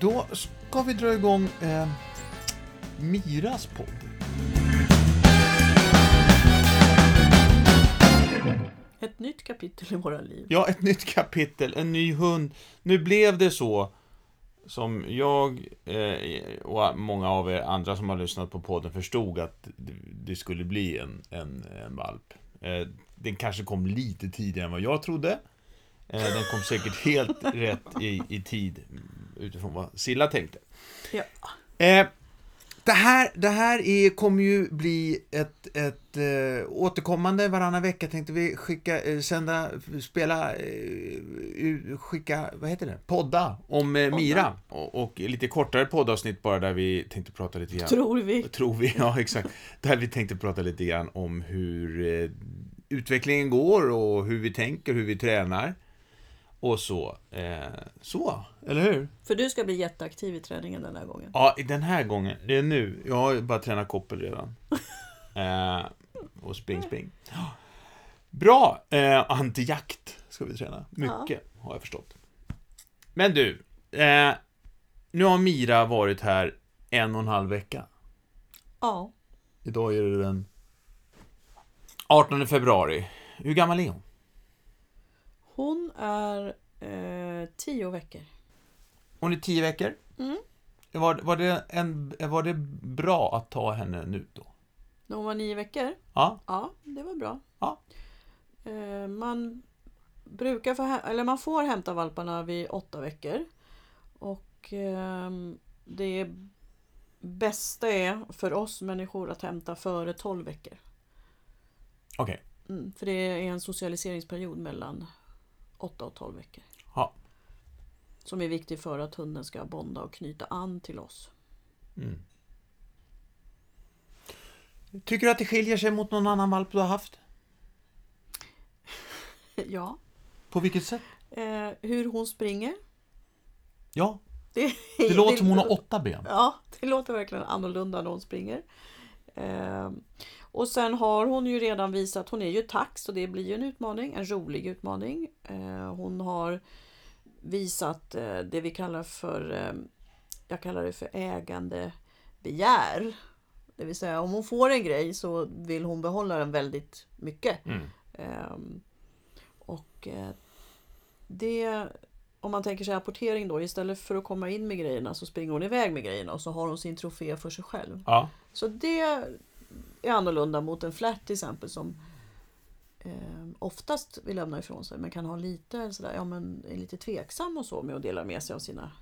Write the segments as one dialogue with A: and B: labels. A: Då ska vi dra igång eh, Miras podd.
B: Ett nytt kapitel i våra liv.
A: Ja, ett nytt kapitel, en ny hund. Nu blev det så som jag eh, och många av er andra som har lyssnat på podden förstod att det skulle bli en, en, en valp. Eh, den kanske kom lite tidigare än vad jag trodde. Eh, den kom säkert helt rätt i, i tid utifrån vad Silla tänkte.
B: Ja.
A: Eh, det här, det här är, kommer ju bli ett, ett eh, återkommande varannan vecka tänkte vi skicka, eh, sända, spela, eh, u- skicka, vad heter det? Podda om eh, Mira. Och, och lite kortare poddavsnitt bara där vi tänkte prata lite grann.
B: Tror vi.
A: Tror vi, ja exakt. Där vi tänkte prata lite grann om hur eh, utvecklingen går och hur vi tänker, hur vi tränar. Och så. Eh, så, eller hur?
B: För du ska bli jätteaktiv i träningen den här gången.
A: Ja, i den här gången. Det är nu. Jag har ju bara tränat koppel redan. eh, och spring, spring. Ja. Bra! Eh, antijakt ska vi träna. Mycket, har jag förstått. Men du, eh, nu har Mira varit här en och en halv vecka.
B: Ja.
A: Idag är det den 18 februari. Hur gammal är hon?
B: Hon är eh, tio veckor.
A: Hon är tio veckor.
B: Mm.
A: Var, var, det en, var det bra att ta henne nu då?
B: När hon var nio veckor?
A: Ja,
B: Ja, det var bra.
A: Ja.
B: Eh, man brukar få, hä- eller man får hämta valparna vid åtta veckor. Och ehm, det bästa är för oss människor att hämta före tolv veckor.
A: okej.
B: Mm, för det är en socialiseringsperiod mellan 8 och 12 veckor.
A: Ja.
B: Som är viktig för att hunden ska bonda och knyta an till oss.
A: Mm. Tycker du att det skiljer sig mot någon annan valp du har haft?
B: Ja.
A: På vilket sätt?
B: Eh, hur hon springer.
A: Ja,
B: Det,
A: det låter som hon har åtta ben.
B: Ja, det låter verkligen annorlunda när hon springer. Ehm, och sen har hon ju redan visat, hon är ju tax och det blir ju en utmaning, en rolig utmaning. Eh, hon har visat eh, det vi kallar för, eh, jag kallar det för ägande begär. Det vill säga om hon får en grej så vill hon behålla den väldigt mycket.
A: Mm.
B: Ehm, och eh, det, om man tänker sig apportering då, istället för att komma in med grejerna så springer hon iväg med grejerna och så har hon sin trofé för sig själv.
A: Ja.
B: Så det är annorlunda mot en flärt till exempel som eh, oftast vill lämna ifrån sig men kan ha lite sådär, ja men är lite tveksam och så med att dela med sig av sina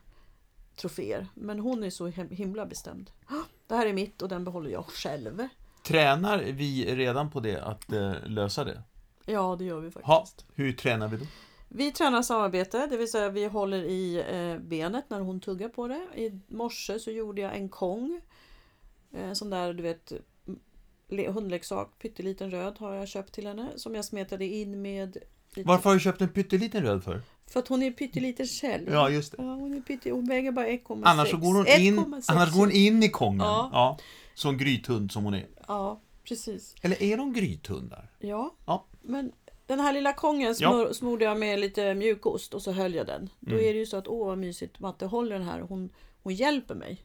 B: troféer. Men hon är så hem- himla bestämd. "Ah, Det här är mitt och den behåller jag själv.
A: Tränar vi redan på det, att eh, lösa det?
B: Ja, det gör vi faktiskt.
A: Ha. Hur tränar vi då?
B: Vi tränar samarbete, det vill säga vi håller i eh, benet när hon tuggar på det. I morse så gjorde jag en kong. Eh, Sån där, du vet, le- hundleksak, pytteliten röd har jag köpt till henne som jag smetade in med... lite-
A: Varför har du köpt en pytteliten röd för?
B: För att hon är pytteliten själv.
A: Ja, just det.
B: Ja, hon, är pytte, hon väger bara 1,6.
A: Annars så går hon in,
B: 1,6.
A: annars går hon in i kongen. Ja.
B: Ja.
A: Som grythund som hon är.
B: Ja, precis.
A: Eller är de grythundar?
B: Ja.
A: Ja.
B: Men den här lilla kongen
A: Ja. Mm.
B: smör, smorde jag med lite mjukost och så höll jag den. Då är det ju så att åh vad mysigt, Matte håller den här, hon, hon hjälper mig.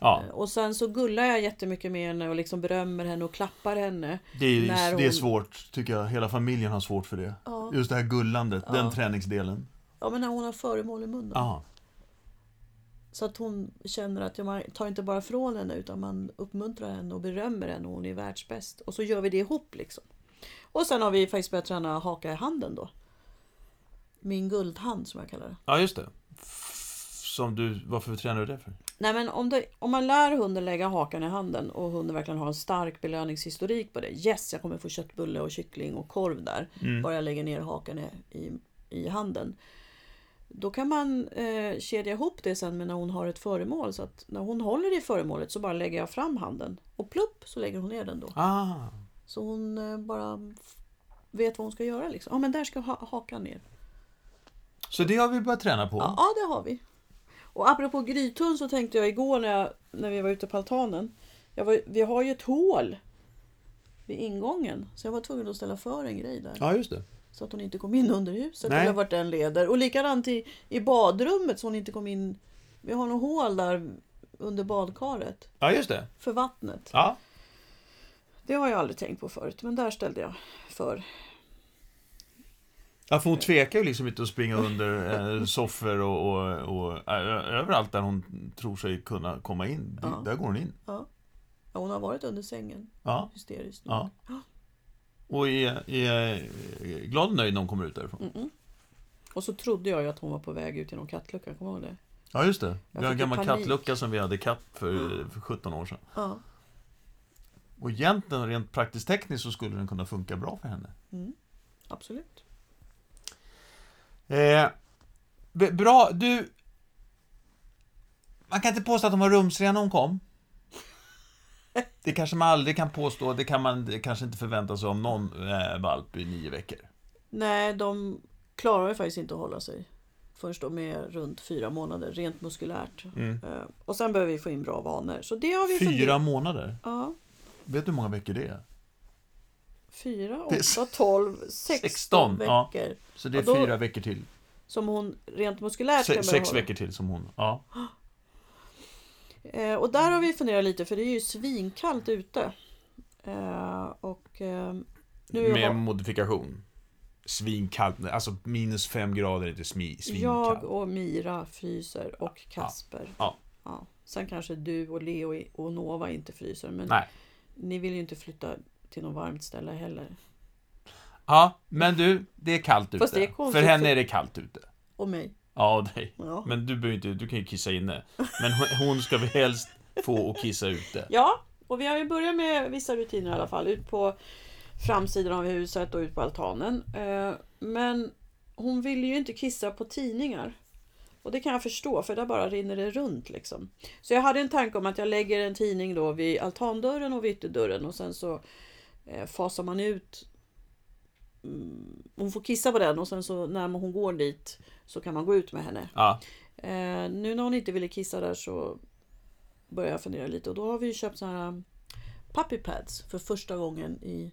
A: Ja,
B: Och sen så gullar jag jättemycket med henne och liksom berömmer henne och klappar henne.
A: det är,
B: När
A: det är
B: hon-
A: svårt, tycker jag. Hela familjen har svårt för det.
B: Ja.
A: Just det här gullandet, den
B: Ja.
A: träningsdelen.
B: Ja men när hon har föremål i munnen.
A: Ja.
B: Så att hon känner att ja, man tar inte bara från henne utan man uppmuntrar henne och berömmer henne och hon är världsbäst. Och så gör vi det ihop liksom. Och sen har vi faktiskt börjat träna haka i handen då. Min guldhand som jag kallar det.
A: Ja, just det. Som du, varför tränar du det för?
B: Nej men om, det, om man lär hunden lägga hakan i handen och hunden verkligen har en stark belöningshistorik på det. Yes, jag kommer få köttbulle och kyckling och korv där. Bara jag lägger ner hakan i, i, i handen. Då kan man eh, kedja ihop det sen med när hon har ett föremål. Så att när hon håller i föremålet så bara lägger jag fram handen. Och plupp så lägger hon ner den då.
A: Ah,
B: Så hon eh, bara f- vet vad hon ska göra liksom. Ja men där ska ha, hakan ner.
A: så det har vi börjat träna på.
B: Ja, ja, det har vi. Och apropå grythund så tänkte jag igår när, jag, när vi var ute på altanen. Jag var, vi har ju ett hål vid ingången. Så jag var tvungen att ställa för en grej där.
A: Ja, just det.
B: Så att hon inte kom in under huset
A: Nej.
B: eller vart den leder. Och likadant i, i badrummet så hon inte kom in Vi har något hål där under badkaret.
A: Ja, just det.
B: För vattnet.
A: Ja.
B: Det har jag aldrig tänkt på förut. Men där ställde jag för.
A: Ja, för hon tvekar ju liksom inte att springa under eh, soffor och, och, och eh, ö- överallt där hon tror sig kunna komma in. Det-
B: Ja.
A: Där går hon in.
B: Ja, hon har varit under sängen.
A: Ja,
B: Hysteriskt. nog.
A: ja. Och är, är glad och nöjd när hon kommer ut därifrån.
B: Mm-mm. Och så trodde jag ju att hon var på väg ut genom kattluckan. Kommer du ihåg det?
A: Ja, just det. Vi
B: fick
A: har en
B: ju
A: gammal
B: panik.
A: kattlucka som vi hade kapp för, för 17 år sedan.
B: Ja.
A: Och egentligen, rent praktiskt tekniskt, så skulle den kunna funka bra för henne.
B: Mm. Absolut.
A: Eh, b- bra, du... Man kan inte påstå att de var rumsrena när hon kom. Det kanske man aldrig kan påstå, det kan man det kanske inte förvänta sig om någon eh, valp i nio veckor.
B: Nej, de klarar ju faktiskt inte att hålla sig. Först de är runt fyra månader, rent muskulärt. Eh, Och sen behöver vi få in bra vanor. Så det har vi
A: Fyra
B: funderat-
A: månader?
B: Ja,
A: Vet du hur många veckor det är?
B: fyra,
A: Det är
B: åtta, tolv, sexton
A: sexton, ja.
B: veckor.
A: Så det är
B: Ja, då-
A: fyra veckor till.
B: Som hon rent muskulärt
A: Se,
B: kan
A: sex
B: behålla.
A: veckor till som hon... Ja.
B: Eh, och där har vi funderat lite för det är ju svinkallt ute. Eh, och eh, nu är
A: Med
B: jag,
A: modifikation. Svinkallt. Alltså minus fem grader är inte smi, svinkallt.
B: jag och Mira fryser och Kasper.
A: Ja.
B: Ja. Sen kanske du och Leo i- och Nova inte fryser men
A: Nej.
B: ni vill ju inte flytta till något varmt ställe heller.
A: Ja, men du, det är kallt ute.
B: Fast det är konstigt,
A: för henne
B: för-
A: är det kallt ute.
B: Och mig.
A: Ja, och dig.
B: Ja,
A: Men du behöver inte, du kan ju kissa inne. Men hon- hon ska väl helst få att kissa ute.
B: ja och vi har ju börjat med vissa rutiner i alla fall. Ut på framsidan av huset och ut på altanen. Eh, men hon ville ju inte kissa på tidningar. Och det kan jag förstå för där bara rinner det runt liksom. Så jag hade en tanke om att jag lägger en tidning då vid altandörren och vid ytterdörren och sen så eh, fasar man ut Mm, hon får kissa på den och sen så när hon går dit så kan man gå ut med henne.
A: Ja,
B: Eh, nu när hon inte ville kissa där så började jag fundera lite och då har vi ju köpt såna här um, puppy pads för första gången i...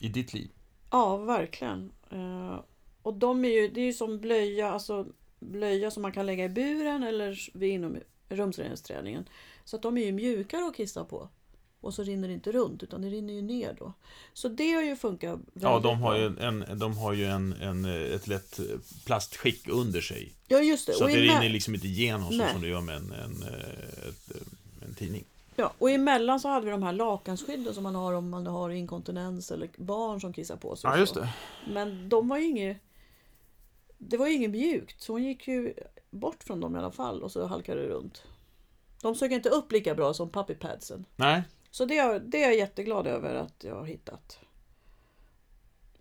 A: i ditt liv.
B: Ja, verkligen. Eh, och de är ju, det är ju som blöja, alltså blöja som man kan lägga i buren eller vid inom rumsrenhetsträningen. Så att de är ju mjukare att kissa på. Och så rinner det inte runt utan det rinner ju ner då. Så det har ju funkat väldigt
A: Ja, de har
B: bra.
A: ju, en, en- de har ju en, en, eh, ett lätt eh, plastskick under sig.
B: Ja, just det.
A: Så
B: Och
A: att det
B: innan-
A: rinner liksom inte igenom så
B: Nej.
A: som det gör med en, en, eh, ett, eh, en tidning.
B: Ja, och emellan så hade vi de här lakansskydden som man har om man har inkontinens eller barn som kissar på sig. och så.
A: det.
B: Men de var ju inget... Det var ju inget mjukt, så hon gick ju bort från dem i alla fall och så halkade det runt. De sög inte upp lika bra som puppy padsen.
A: Nej,
B: Så det är, det är jag jätteglad över att jag har hittat.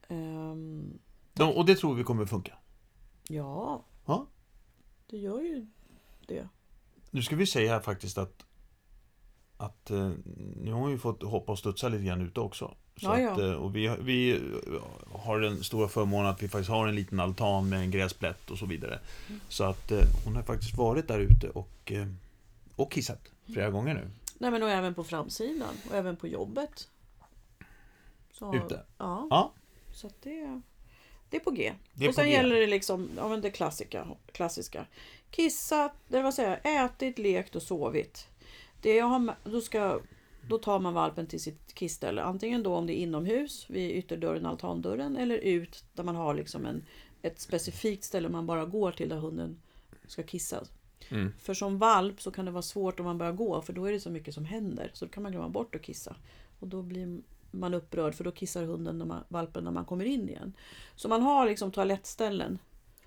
B: Ehm,
A: de, och det tror vi kommer funka.
B: ja,
A: Ja.
B: det gör ju det.
A: Nu ska vi säga här faktiskt att att eh, nu har hon ju fått hoppa och studsa lite grann ute också. Så
B: Ja, ja.
A: Att, eh, och vi, har- vi eh, har den stora förmånen att vi faktiskt har en liten altan med en gräsplätt och så vidare.
B: Mm.
A: Så att eh, hon har faktiskt varit där ute och, eh, och kissat flera gånger nu.
B: Nej men och även på framsidan och även på jobbet. Så,
A: Ute.
B: Ja.
A: Ja.
B: Så att det, det är på G.
A: Det är
B: och
A: på
B: sen
A: G.
B: gäller det liksom, ja men det klassiska. klassiska. Kissat, eller vad säger jag, ätit, lekt och sovit. Det jag har, med- då, ska, då tar man valpen till sitt kissställe. Antingen då om det är inomhus, vid ytterdörren, altandörren, eller ut där man har liksom en, ett specifikt ställe man bara går till där hunden ska kissa.
A: Mm.
B: För som valp så kan det vara svårt om man börjar gå för då är det så mycket som händer. Så då kan man glömma bort att kissa. Och då blir man upprörd för då kissar hunden, när man, valpen, när man kommer in igen. Så man har liksom toalettställen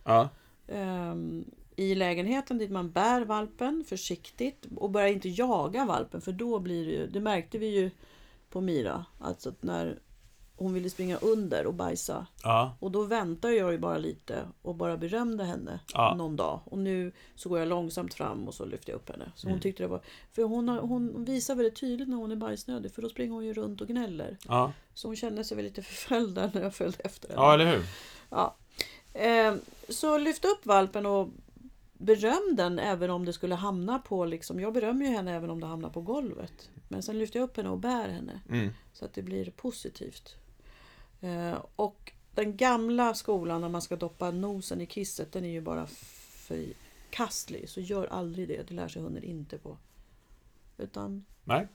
A: Ja.
B: ehm, i lägenheten dit man bär valpen försiktigt och börjar inte jaga valpen för då blir det ju, det märkte vi ju på Mira, alltså att när hon ville springa under och bajsa
A: Ja.
B: och då väntar jag ju bara lite och bara berömde henne
A: Ja.
B: någon dag. Och nu så går jag långsamt fram och så lyfter jag upp henne. Så hon tyckte det var... För hon, har, hon visar väldigt tydligt när hon är bajsnödig för då springer hon ju runt och gnäller.
A: Ja.
B: Så hon kände sig väl lite förföljd där när jag följde efter henne.
A: ja, eller hur?
B: Ja. Eh, Så lyft upp valpen och beröm den även om det skulle hamna på liksom, jag berömmer ju henne även om det hamnar på golvet. Men sen lyfter jag upp henne och bär henne.
A: Mm.
B: Så att det blir positivt. Eh, Och den gamla skolan när man ska doppa nosen i kisset den är ju bara för förkastlig. Så gör aldrig det. Det lär sig hunden inte på. Utan
A: Nej.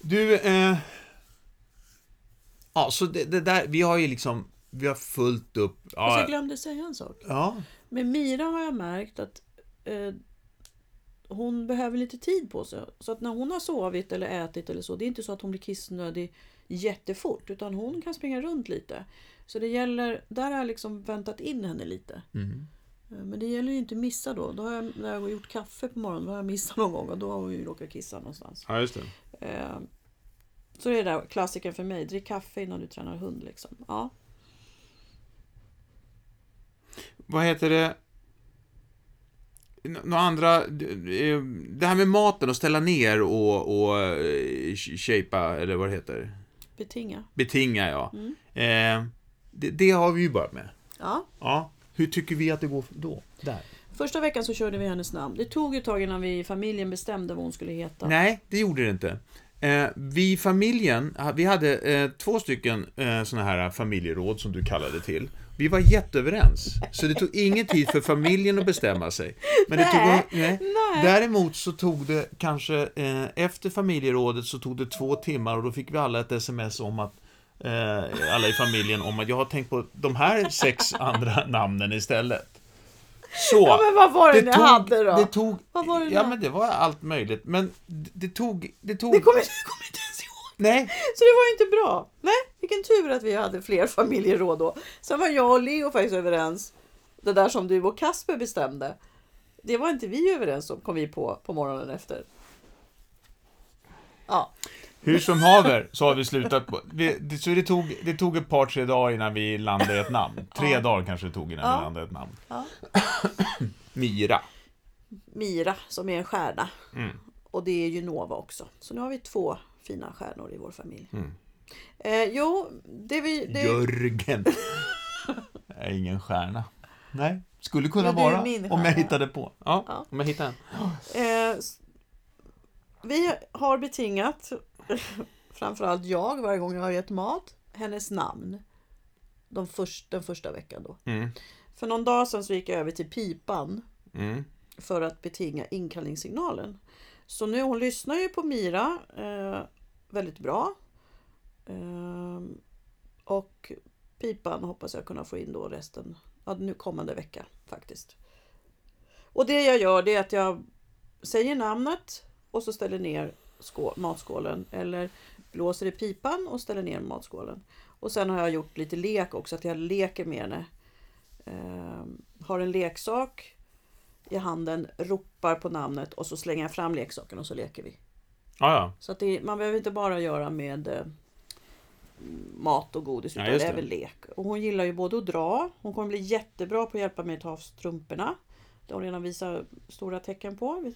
A: Du, eh, ja, så det, det där, vi har ju liksom, vi har fullt upp.
B: Fast jag
A: Ja,
B: glömde säga en sak.
A: ja,
B: Med Mira har jag märkt att eh, hon behöver lite tid på sig. Så att när hon har sovit eller ätit eller så, det är inte så att hon blir kissnödig jättefort, utan hon kan springa runt lite. Så det gäller, där har jag liksom väntat in henne lite.
A: mm.
B: Eh, Men det gäller ju inte att missa då. då har jag, när jag har gjort kaffe på morgonen, då har jag missat någon gång och då har hon ju råkat kissa någonstans.
A: ja just det.
B: Eh, så det är där klassiken för mig, drick kaffe innan du tränar hund liksom. Ja.
A: Vad heter det? N- Några andra, d- eh, det här med maten och ställa ner och, och eh, sh- shapea, eller vad det heter,
B: Betinga.
A: betinga ja.
B: Mm.
A: Eh, det, det har vi ju börjat med.
B: Ja.
A: Ja. Hur tycker vi att det går då? Där.
B: Första veckan så körde vi hennes namn. Det tog ett tag innan vi i familjen bestämde vad hon skulle heta.
A: Nej, det gjorde det inte. Eh, vi i familjen, ha- vi hade eh, två stycken eh, såna här familjeråd som du kallade till. Vi var jätteöverens, så det tog ingen tid för familjen att bestämma sig. Men det
B: Nej,
A: tog, nej. Däremot så tog det kanske, eh, efter familjerådet så tog det två timmar och då fick vi alla ett sms om att eh, alla i familjen om att jag har tänkt på de här sex andra namnen istället. Så
B: Ja, men vad var det, ni hade då?
A: det tog,
B: Vad var det ni
A: ja
B: hade?
A: men det var allt möjligt, men det, det tog, det tog,
B: Det kommer jag kommer inte ens ihåg.
A: nej,
B: Så det var ju inte bra. Nej, vilken tur att vi hade fler familjeråd då. Sen var jag och Leo faktiskt överens. Det där som du och Kasper bestämde. Det var inte vi överens om, kom vi på på morgonen efter. Ja,
A: hur som haver så har vi slutat på, vi, det, så det tog, det tog ett par tre dagar innan vi landade i ett namn, tre dagar kanske det tog innan
B: Ja.
A: vi landade i ett namn.
B: Ja.
A: Mira.
B: Mira som är en stjärna. Och det är ju Nova också. Så nu har vi två fina stjärnor i vår familj. Eh, jo, det vi... Det,
A: Jörgen. Jag är ingen stjärna. Nej, skulle kunna
B: Men du är
A: vara
B: min
A: om jag
B: stjärna.
A: hittade på. Ja,
B: Ja.
A: om jag hittar en.
B: Eh, s- vi har betingat, framförallt jag, varje gång jag har gett mat, hennes namn. De först, den första veckan då.
A: Mm.
B: För någon dag sedan så gick jag över till pipan
A: Mm.
B: för att betinga inkallningssignalen. Så nu, hon lyssnar ju på Mira eh, väldigt bra. Ehm, och pipan hoppas jag kunna få in då resten, ja, nu kommande vecka faktiskt. Och det jag gör det är att jag säger namnet och så ställer ner skå- matskålen eller blåser i pipan och ställer ner matskålen. Och sen har jag gjort lite lek också, att jag leker med henne. Ehm, har en leksak i handen, ropar på namnet och så slänger jag fram leksaken och så leker vi.
A: Ja, ja.
B: Så att det, man behöver inte bara göra med eh, mat och godis
A: Ja,
B: utan
A: just
B: det är
A: det.
B: även lek. Och hon gillar ju både att dra, hon kommer bli jättebra på att hjälpa mig att ta av strumporna. Det har hon redan visat stora tecken på.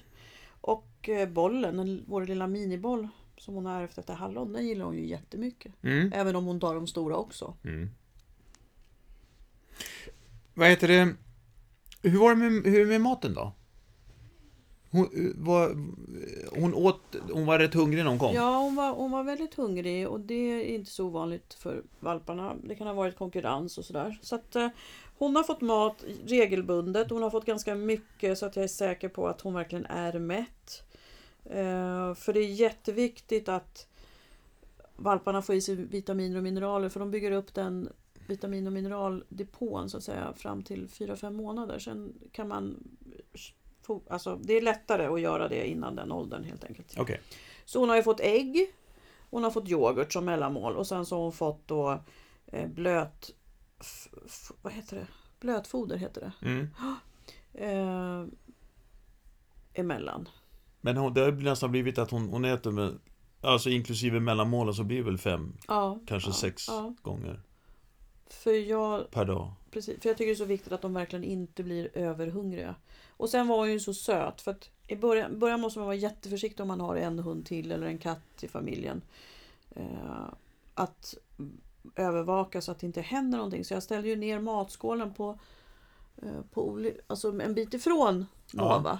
B: Och eh, bollen, den, vår lilla miniboll som hon har ärvt efter hallon, den gillar hon ju jättemycket.
A: Mm.
B: Även om hon tar de stora också.
A: Mm. Vad heter det? Hur var det med, hur med maten då? Hon, eh, var, hon åt, hon var rätt hungrig när hon kom.
B: Ja, hon var, hon var väldigt hungrig och det är inte så ovanligt för valparna. Det kan ha varit konkurrens och sådär. Så att, eh, hon har fått mat regelbundet. Hon har fått ganska mycket så att jag är säker på att hon verkligen är mätt. Eh, för det är jätteviktigt att valparna får i sig vitaminer och mineraler för de bygger upp den vitamin och mineraldepån så att säga fram till 4-5 månader. Sen kan man... Få, alltså, det är lättare att göra det innan den åldern helt enkelt.
A: Okej.
B: Så hon har ju fått ägg. Hon har fått yoghurt som mellanmål och sen så har hon fått då eh, blöt... F, f, vad heter det? Blötfoder heter det.
A: Mm.
B: Eh, emellan.
A: Men hon, det har ju nästan blivit att hon, hon äter med, alltså inklusive mellanmålen så blir det väl fem,
B: Ja.
A: kanske
B: ja,
A: sex
B: Ja.
A: gånger
B: För jag,
A: per dag.
B: precis, för jag tycker det är så viktigt att de verkligen inte blir överhungriga. Och sen var hon ju så söt för att i början, början måste man vara jätteförsiktig om man har en hund till eller en katt i familjen. Eh, att övervaka så att det inte händer någonting. Så jag ställde ju ner matskålen på, eh, på Oli, alltså en bit ifrån
A: Ja.
B: Nova.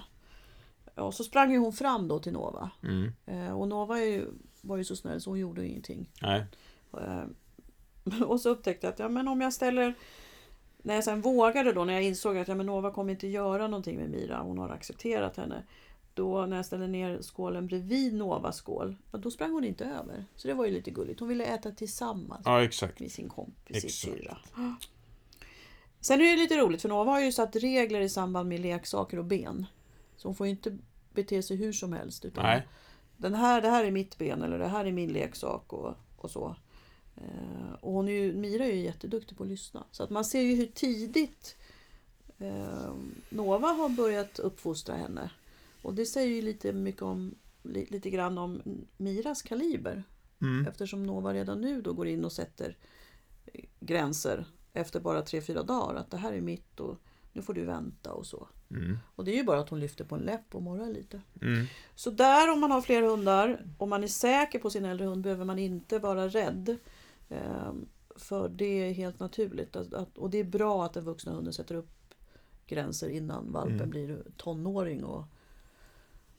B: Och så sprang ju hon fram då till Nova.
A: Mm.
B: Eh, och Nova är ju, var ju så snäll så hon gjorde ju ingenting.
A: Nej.
B: Eh, Och så upptäckte jag att ja, men om jag ställer när jag sen vågade då, när jag insåg att ja, men Nova kommer inte göra någonting med Mira, hon har accepterat henne. Då när jag ställde ner skålen bredvid Novas skål, ja, då sprang hon inte över. Så det var ju lite gulligt. Hon ville äta tillsammans
A: Ja, exakt.
B: med sin kompis, sin
A: Exakt.
B: syrra. Sen är det lite roligt för Nova har ju satt regler i samband med leksaker och ben. Så hon får ju inte bete sig hur som helst. Utan
A: Nej.
B: Den här, det här är mitt ben eller det här är min leksak och, och så. Eh, och hon är ju, Mira är ju jätteduktig på att lyssna. Så att man ser ju hur tidigt eh, Nova har börjat uppfostra henne. Och det säger ju lite, mycket om, li, lite grann om Miras kaliber.
A: Mm.
B: Eftersom Nova redan nu då går in och sätter eh, gränser efter bara 3-4 dagar. Att det här är mitt och nu får du vänta och så.
A: Mm.
B: Och det är ju bara att hon lyfter på en läpp och morrar lite.
A: Mm.
B: Så där om man har fler hundar, om man är säker på sin äldre hund behöver man inte vara rädd. Ehm, För det är helt naturligt att, att, och det är bra att den vuxna hunden sätter upp gränser innan valpen
A: Mm.
B: blir tonåring och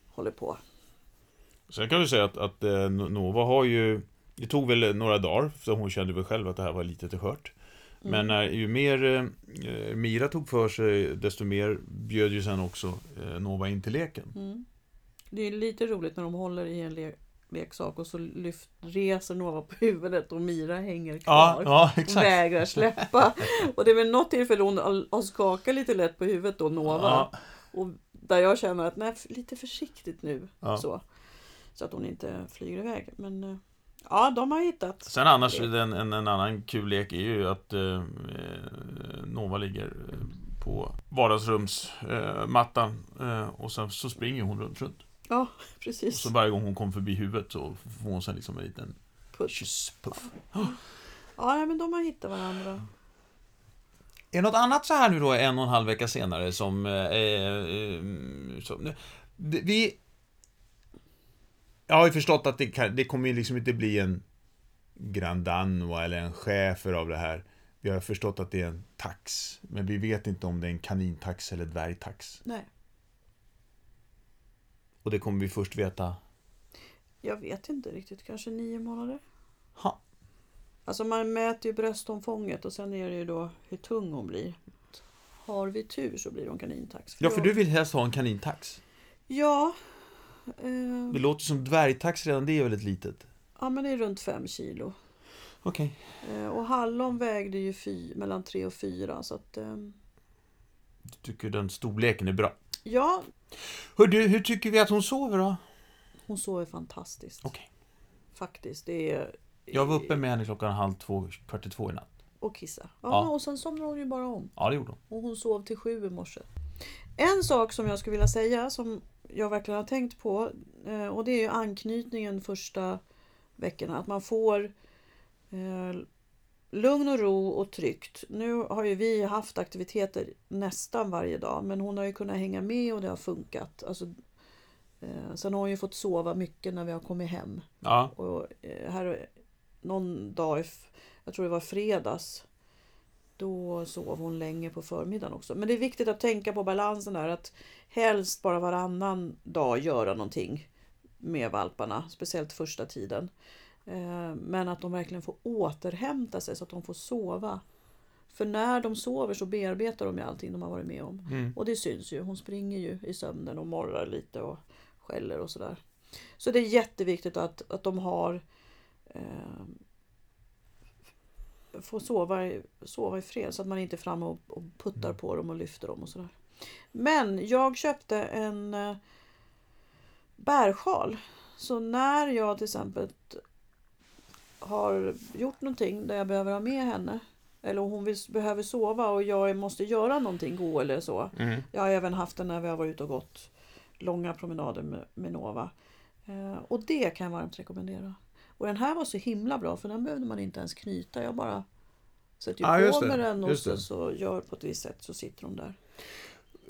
B: håller på.
A: Sen kan du säga att, att eh, No- Nova har ju... Det tog väl några dagar, för hon kände väl själv att det här var litet och skört.
B: Mm.
A: Men eh, ju mer eh, Mira tog för sig, desto mer bjöd ju sen också eh, Nova in till leken.
B: Mm. Det är lite roligt när de håller i en le- leksak och så lyft, reser Nova på huvudet och Mira hänger
A: Ja,
B: kvar.
A: ja
B: Hon
A: exakt.
B: vägrar släppa. Och det är väl något tillfälle hon har- har skakat lite lätt på huvudet då, Nova.
A: Ja,
B: Och där jag känner att nej, lite försiktigt nu.
A: ja.
B: Så, så att hon inte flyger iväg. Men eh, ja, de har hittat.
A: Sen annars, eh,
B: Lek.
A: en, en, en annan kul lek är ju att eh, Nova ligger eh, på vardagsrumsmattan eh, mattan, eh, och sen så springer hon runt, runt. Och
B: Precis.
A: så varje gång hon kom förbi huvudet så får hon sen liksom en liten
B: Puss.
A: kysspuff.
B: Ja, nej, men de har hittat varandra.
A: Är det något annat så här nu då en och en halv vecka senare som... Eh, eh, som det- vi... Jag har ju förstått att det, kan, det kommer ju liksom inte bli en Grandanoa eller en schäfer av det här. Vi har förstått att det är en tax, men vi vet inte om det är en kanintax eller dvärgtax.
B: Nej,
A: Och det kommer vi först veta.
B: jag vet inte riktigt. Kanske nio månader.
A: Ha.
B: Alltså man mäter ju bröstomfånget och sen är det ju då hur tung hon blir. Har vi tur så blir hon kanintax.
A: Ja, för
B: jag-
A: du vill helst ha en kanintax.
B: Ja. Eh,
A: Det låter som dvärgtax redan, det är väldigt litet.
B: ja, men det är runt fem kilo.
A: Okej.
B: Eh, och hallon vägde ju fy, mellan tre och fyra. Så att, eh,
A: Du tycker den storleken är bra.
B: ja,
A: Hör du, hur tycker vi att hon sover då?
B: hon sover fantastiskt.
A: Okej.
B: Faktiskt. Det är...
A: Jag var uppe med henne klockan halv två, kvart i två i natt.
B: Och kissa. Ja,
A: Ja.
B: och sen somnade hon ju bara om.
A: Ja, det gjorde hon.
B: Och hon sov till sju i morse. En sak som jag skulle vilja säga som jag verkligen har tänkt på eh, och det är ju anknytningen första veckorna. Att man får eh, lugn och ro och tryggt. Nu har ju vi haft aktiviteter nästan varje dag men hon har ju kunnat hänga med och det har funkat. Alltså, eh, sen har hon ju fått sova mycket när vi har kommit hem.
A: Ja.
B: Och eh, här någon dag, i f- jag tror det var fredags, då sov hon länge på förmiddagen också. Men det är viktigt att tänka på balansen där, att helst bara varannan dag göra någonting med valparna, speciellt första tiden. Eh, Men att de verkligen får återhämta sig så att de får sova. För när de sover så bearbetar de ju allting de har varit med om.
A: Mm.
B: Och det syns ju. Hon springer ju i sömnen och morrar lite och skäller och sådär. Så det är jätteviktigt att, att de har eh, får sova i, sova i fred så att man inte är framme och, och puttar på dem och lyfter dem och sådär. Men jag köpte en eh, bärsjal. Så när jag till exempel har gjort någonting där jag behöver ha med henne eller hon vill, behöver sova och jag måste göra någonting, gå eller så.
A: Mm.
B: Jag har även haft den när vi har varit ute och gått långa promenader med, med Nova. Eh, och det kan jag varmt rekommendera. Och den här var så himla bra för den behövde man inte ens knyta. Jag bara sätter ju
A: Ja, just
B: på
A: det,
B: med den och
A: just
B: så,
A: det.
B: så gör på ett visst sätt så sitter de där.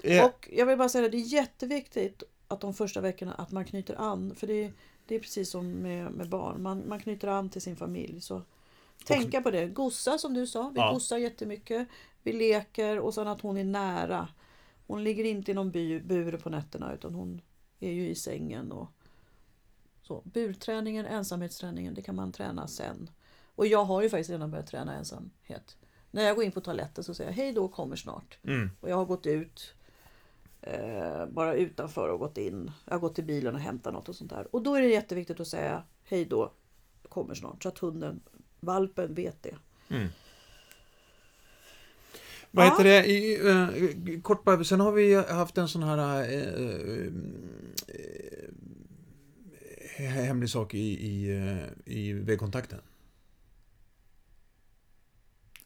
A: Eh,
B: Och jag vill bara säga att det är jätteviktigt att de första veckorna att man knyter an. För det, det är precis som med, med barn. Man, man knyter an till sin familj. Så tänka på det. Gossa som du sa. Vi
A: Ja.
B: gossar jättemycket. Vi leker och sen att hon är nära. Hon ligger inte i någon by, bur på nätterna utan hon är ju i sängen. Och så. Burträningen, ensamhetsträningen, det kan man träna sen. Och jag har ju faktiskt redan börjat träna ensamhet. När jag går in på toaletten så säger jag hej då, kommer snart.
A: Mm.
B: Och jag har gått ut eh, bara utanför och gått in. Jag har gått till bilen och hämtat något och sånt där. Och då är det jätteviktigt att säga hej då, kommer snart. Så att hunden, valpen vet det.
A: Mm. Vad
B: Ja.
A: heter det? I, eh, kort bara, sen har vi haft en sån här eh, eh, eh, hemlig sak i, i, eh, i vägkontakten.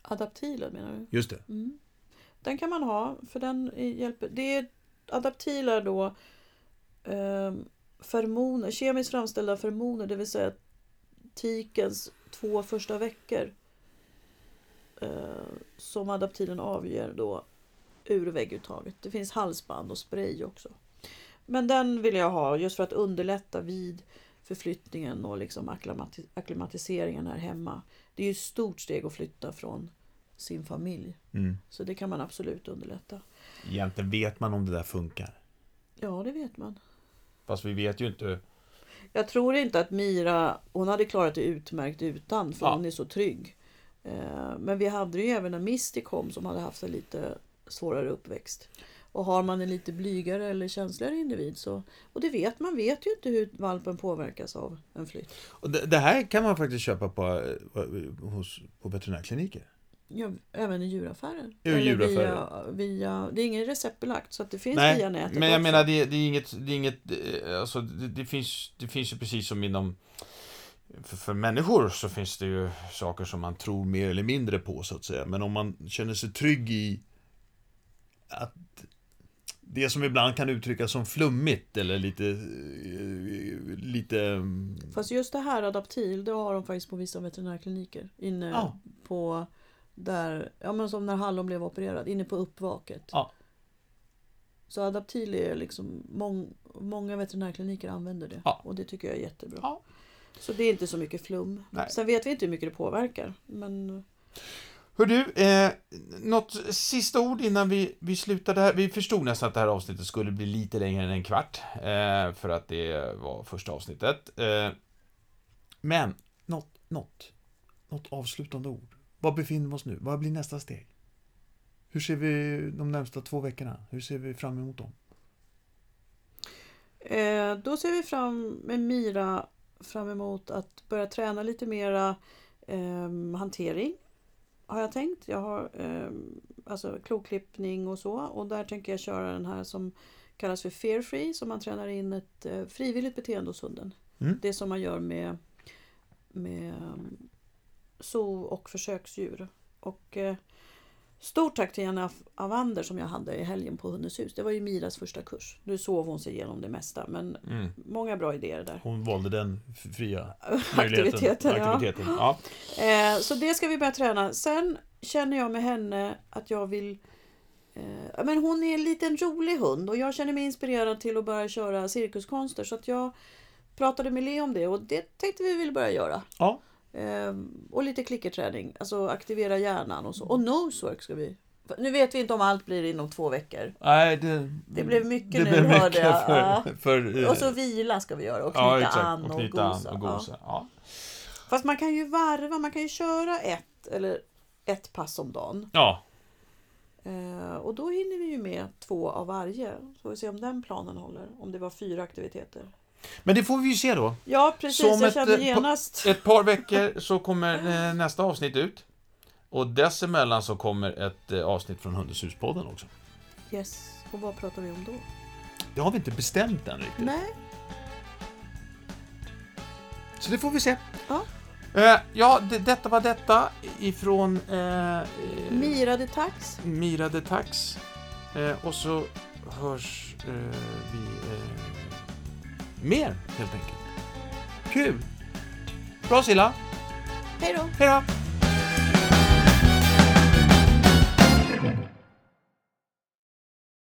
B: Adaptilen menar du?
A: Just det.
B: Mm. Den kan man ha för den hjälper. Det är adaptiler då eh, fermoner, kemiskt framställda fermoner, det vill säga tikens två första veckor eh, som adaptilen avger då ur vägguttaget. Det finns halsband och spray också. Men den vill jag ha just för att underlätta vid förflyttningen och liksom akklimati- akklimatiseringen här hemma. Det är ju ett stort steg att flytta från sin familj.
A: Mm.
B: Så det kan man absolut underlätta.
A: Egentligen vet man om det där funkar.
B: Ja, det vet man.
A: Fast vi vet ju inte.
B: Jag tror inte att Mira, hon hade klarat det utmärkt utan för
A: Ja.
B: hon är så trygg. Eh, Men vi hade ju även en Misty kom som hade haft en lite svårare uppväxt. Och har man en lite blygare eller känsligare individ så... Och det vet man, vet ju inte hur valpen påverkas av en flytt.
A: Och det, det här kan man faktiskt köpa på, eh, hos, på veterinärkliniker.
B: Ja, även i djuraffärer.
A: Ja, i
B: Eller
A: djuraffärer.
B: Via, via, det är ingen receptbelagt så att det finns via nätet
A: men jag
B: också.
A: menar det, det är inget, det är inget, eh, alltså det, det finns, det finns ju precis som inom för, för människor så finns det ju saker som man tror mer eller mindre på så att säga. Men om man känner sig trygg i att det som ibland kan uttryckas som flummigt eller lite, eh, lite... mm,
B: Fast just det här adaptil, det har de faktiskt på vissa veterinärkliniker. Inne
A: Ja.
B: på där, ja men som när Hallon blev opererad, inne på uppvaket.
A: Ja.
B: Så adaptil är liksom, mång, många veterinärkliniker använder det.
A: Ja.
B: Och det tycker jag är jättebra.
A: Ja.
B: Så det är inte så mycket flum.
A: Nej.
B: Sen vet vi inte hur mycket det påverkar. Men
A: Hör du, eh, något sista ord innan vi, vi slutar det här. Vi förstod nästan att det här avsnittet skulle bli lite längre än en kvart. Eh, för att det var första avsnittet. Eh, men, något, något, något avslutande ord. Var befinner vi oss nu? Vad blir nästa steg? Hur ser vi de närmsta två veckorna? Hur ser vi fram emot dem?
B: Eh, då ser vi fram med Mira fram emot att börja träna lite mera ehm, hantering. Har jag tänkt. Jag har ehm, alltså kloklippning och så. Och där tänker jag köra den här som kallas för fear free. Som man tränar in ett eh, frivilligt beteende hos hunden.
A: Mm.
B: Det som man gör med, med ehm, zoo och försöksdjur. Och eh, Stort tack till Jenny Af- Avander som jag hade i helgen på Hundens hus. Det var ju Miras första kurs. Nu sov hon sig igenom det mesta men många bra idéer där.
A: Mm, Hon valde den fria
B: Aktiviteten, ja.
A: Aktiviteten, ja.
B: Eh, så det ska vi börja träna. Sen känner jag med henne att jag vill... Eh, ja, men hon är en liten rolig hund och jag känner mig inspirerad till att börja köra cirkuskonster. Så att jag pratade med Leo om det och det tänkte vi ville börja göra.
A: ja.
B: Eh, och lite klickerträning, alltså aktivera hjärnan och så. Och nosework ska vi... Nu vet vi inte om allt blir inom två veckor.
A: Nej, det,
B: Det blev mycket
A: det
B: nu,
A: blev
B: hörde
A: mycket
B: jag.
A: För,
B: Ja.
A: för, eh,
B: Och så vila ska vi göra och knyta an och, gosa. Ja.
A: Ja.
B: Fast man kan ju varva, man kan ju köra ett eller ett pass om dagen.
A: ja.
B: Eh, och då hinner vi ju med två av varje. Så vi se om den planen håller. Om det var fyra aktiviteter.
A: Men det får vi ju se då.
B: Ja precis,
A: Som
B: jag
A: ett,
B: känner
A: eh, på-
B: genast.
A: Ett par veckor så kommer eh, nästa avsnitt ut. Och dessemellan så kommer ett eh, avsnitt från Hundens huspodden också.
B: Yes, och vad pratar vi om då?
A: Det har vi inte bestämt än riktigt.
B: Nej,
A: Så det får vi se.
B: Ja.
A: Eh, ja, det, detta var detta ifrån eh, eh,
B: Mira de Tax.
A: Mira de Tax. Eh, och så hörs eh, vi eh, mer helt enkelt. Kul! Bra Silla!
B: Hej då!
A: Hej då!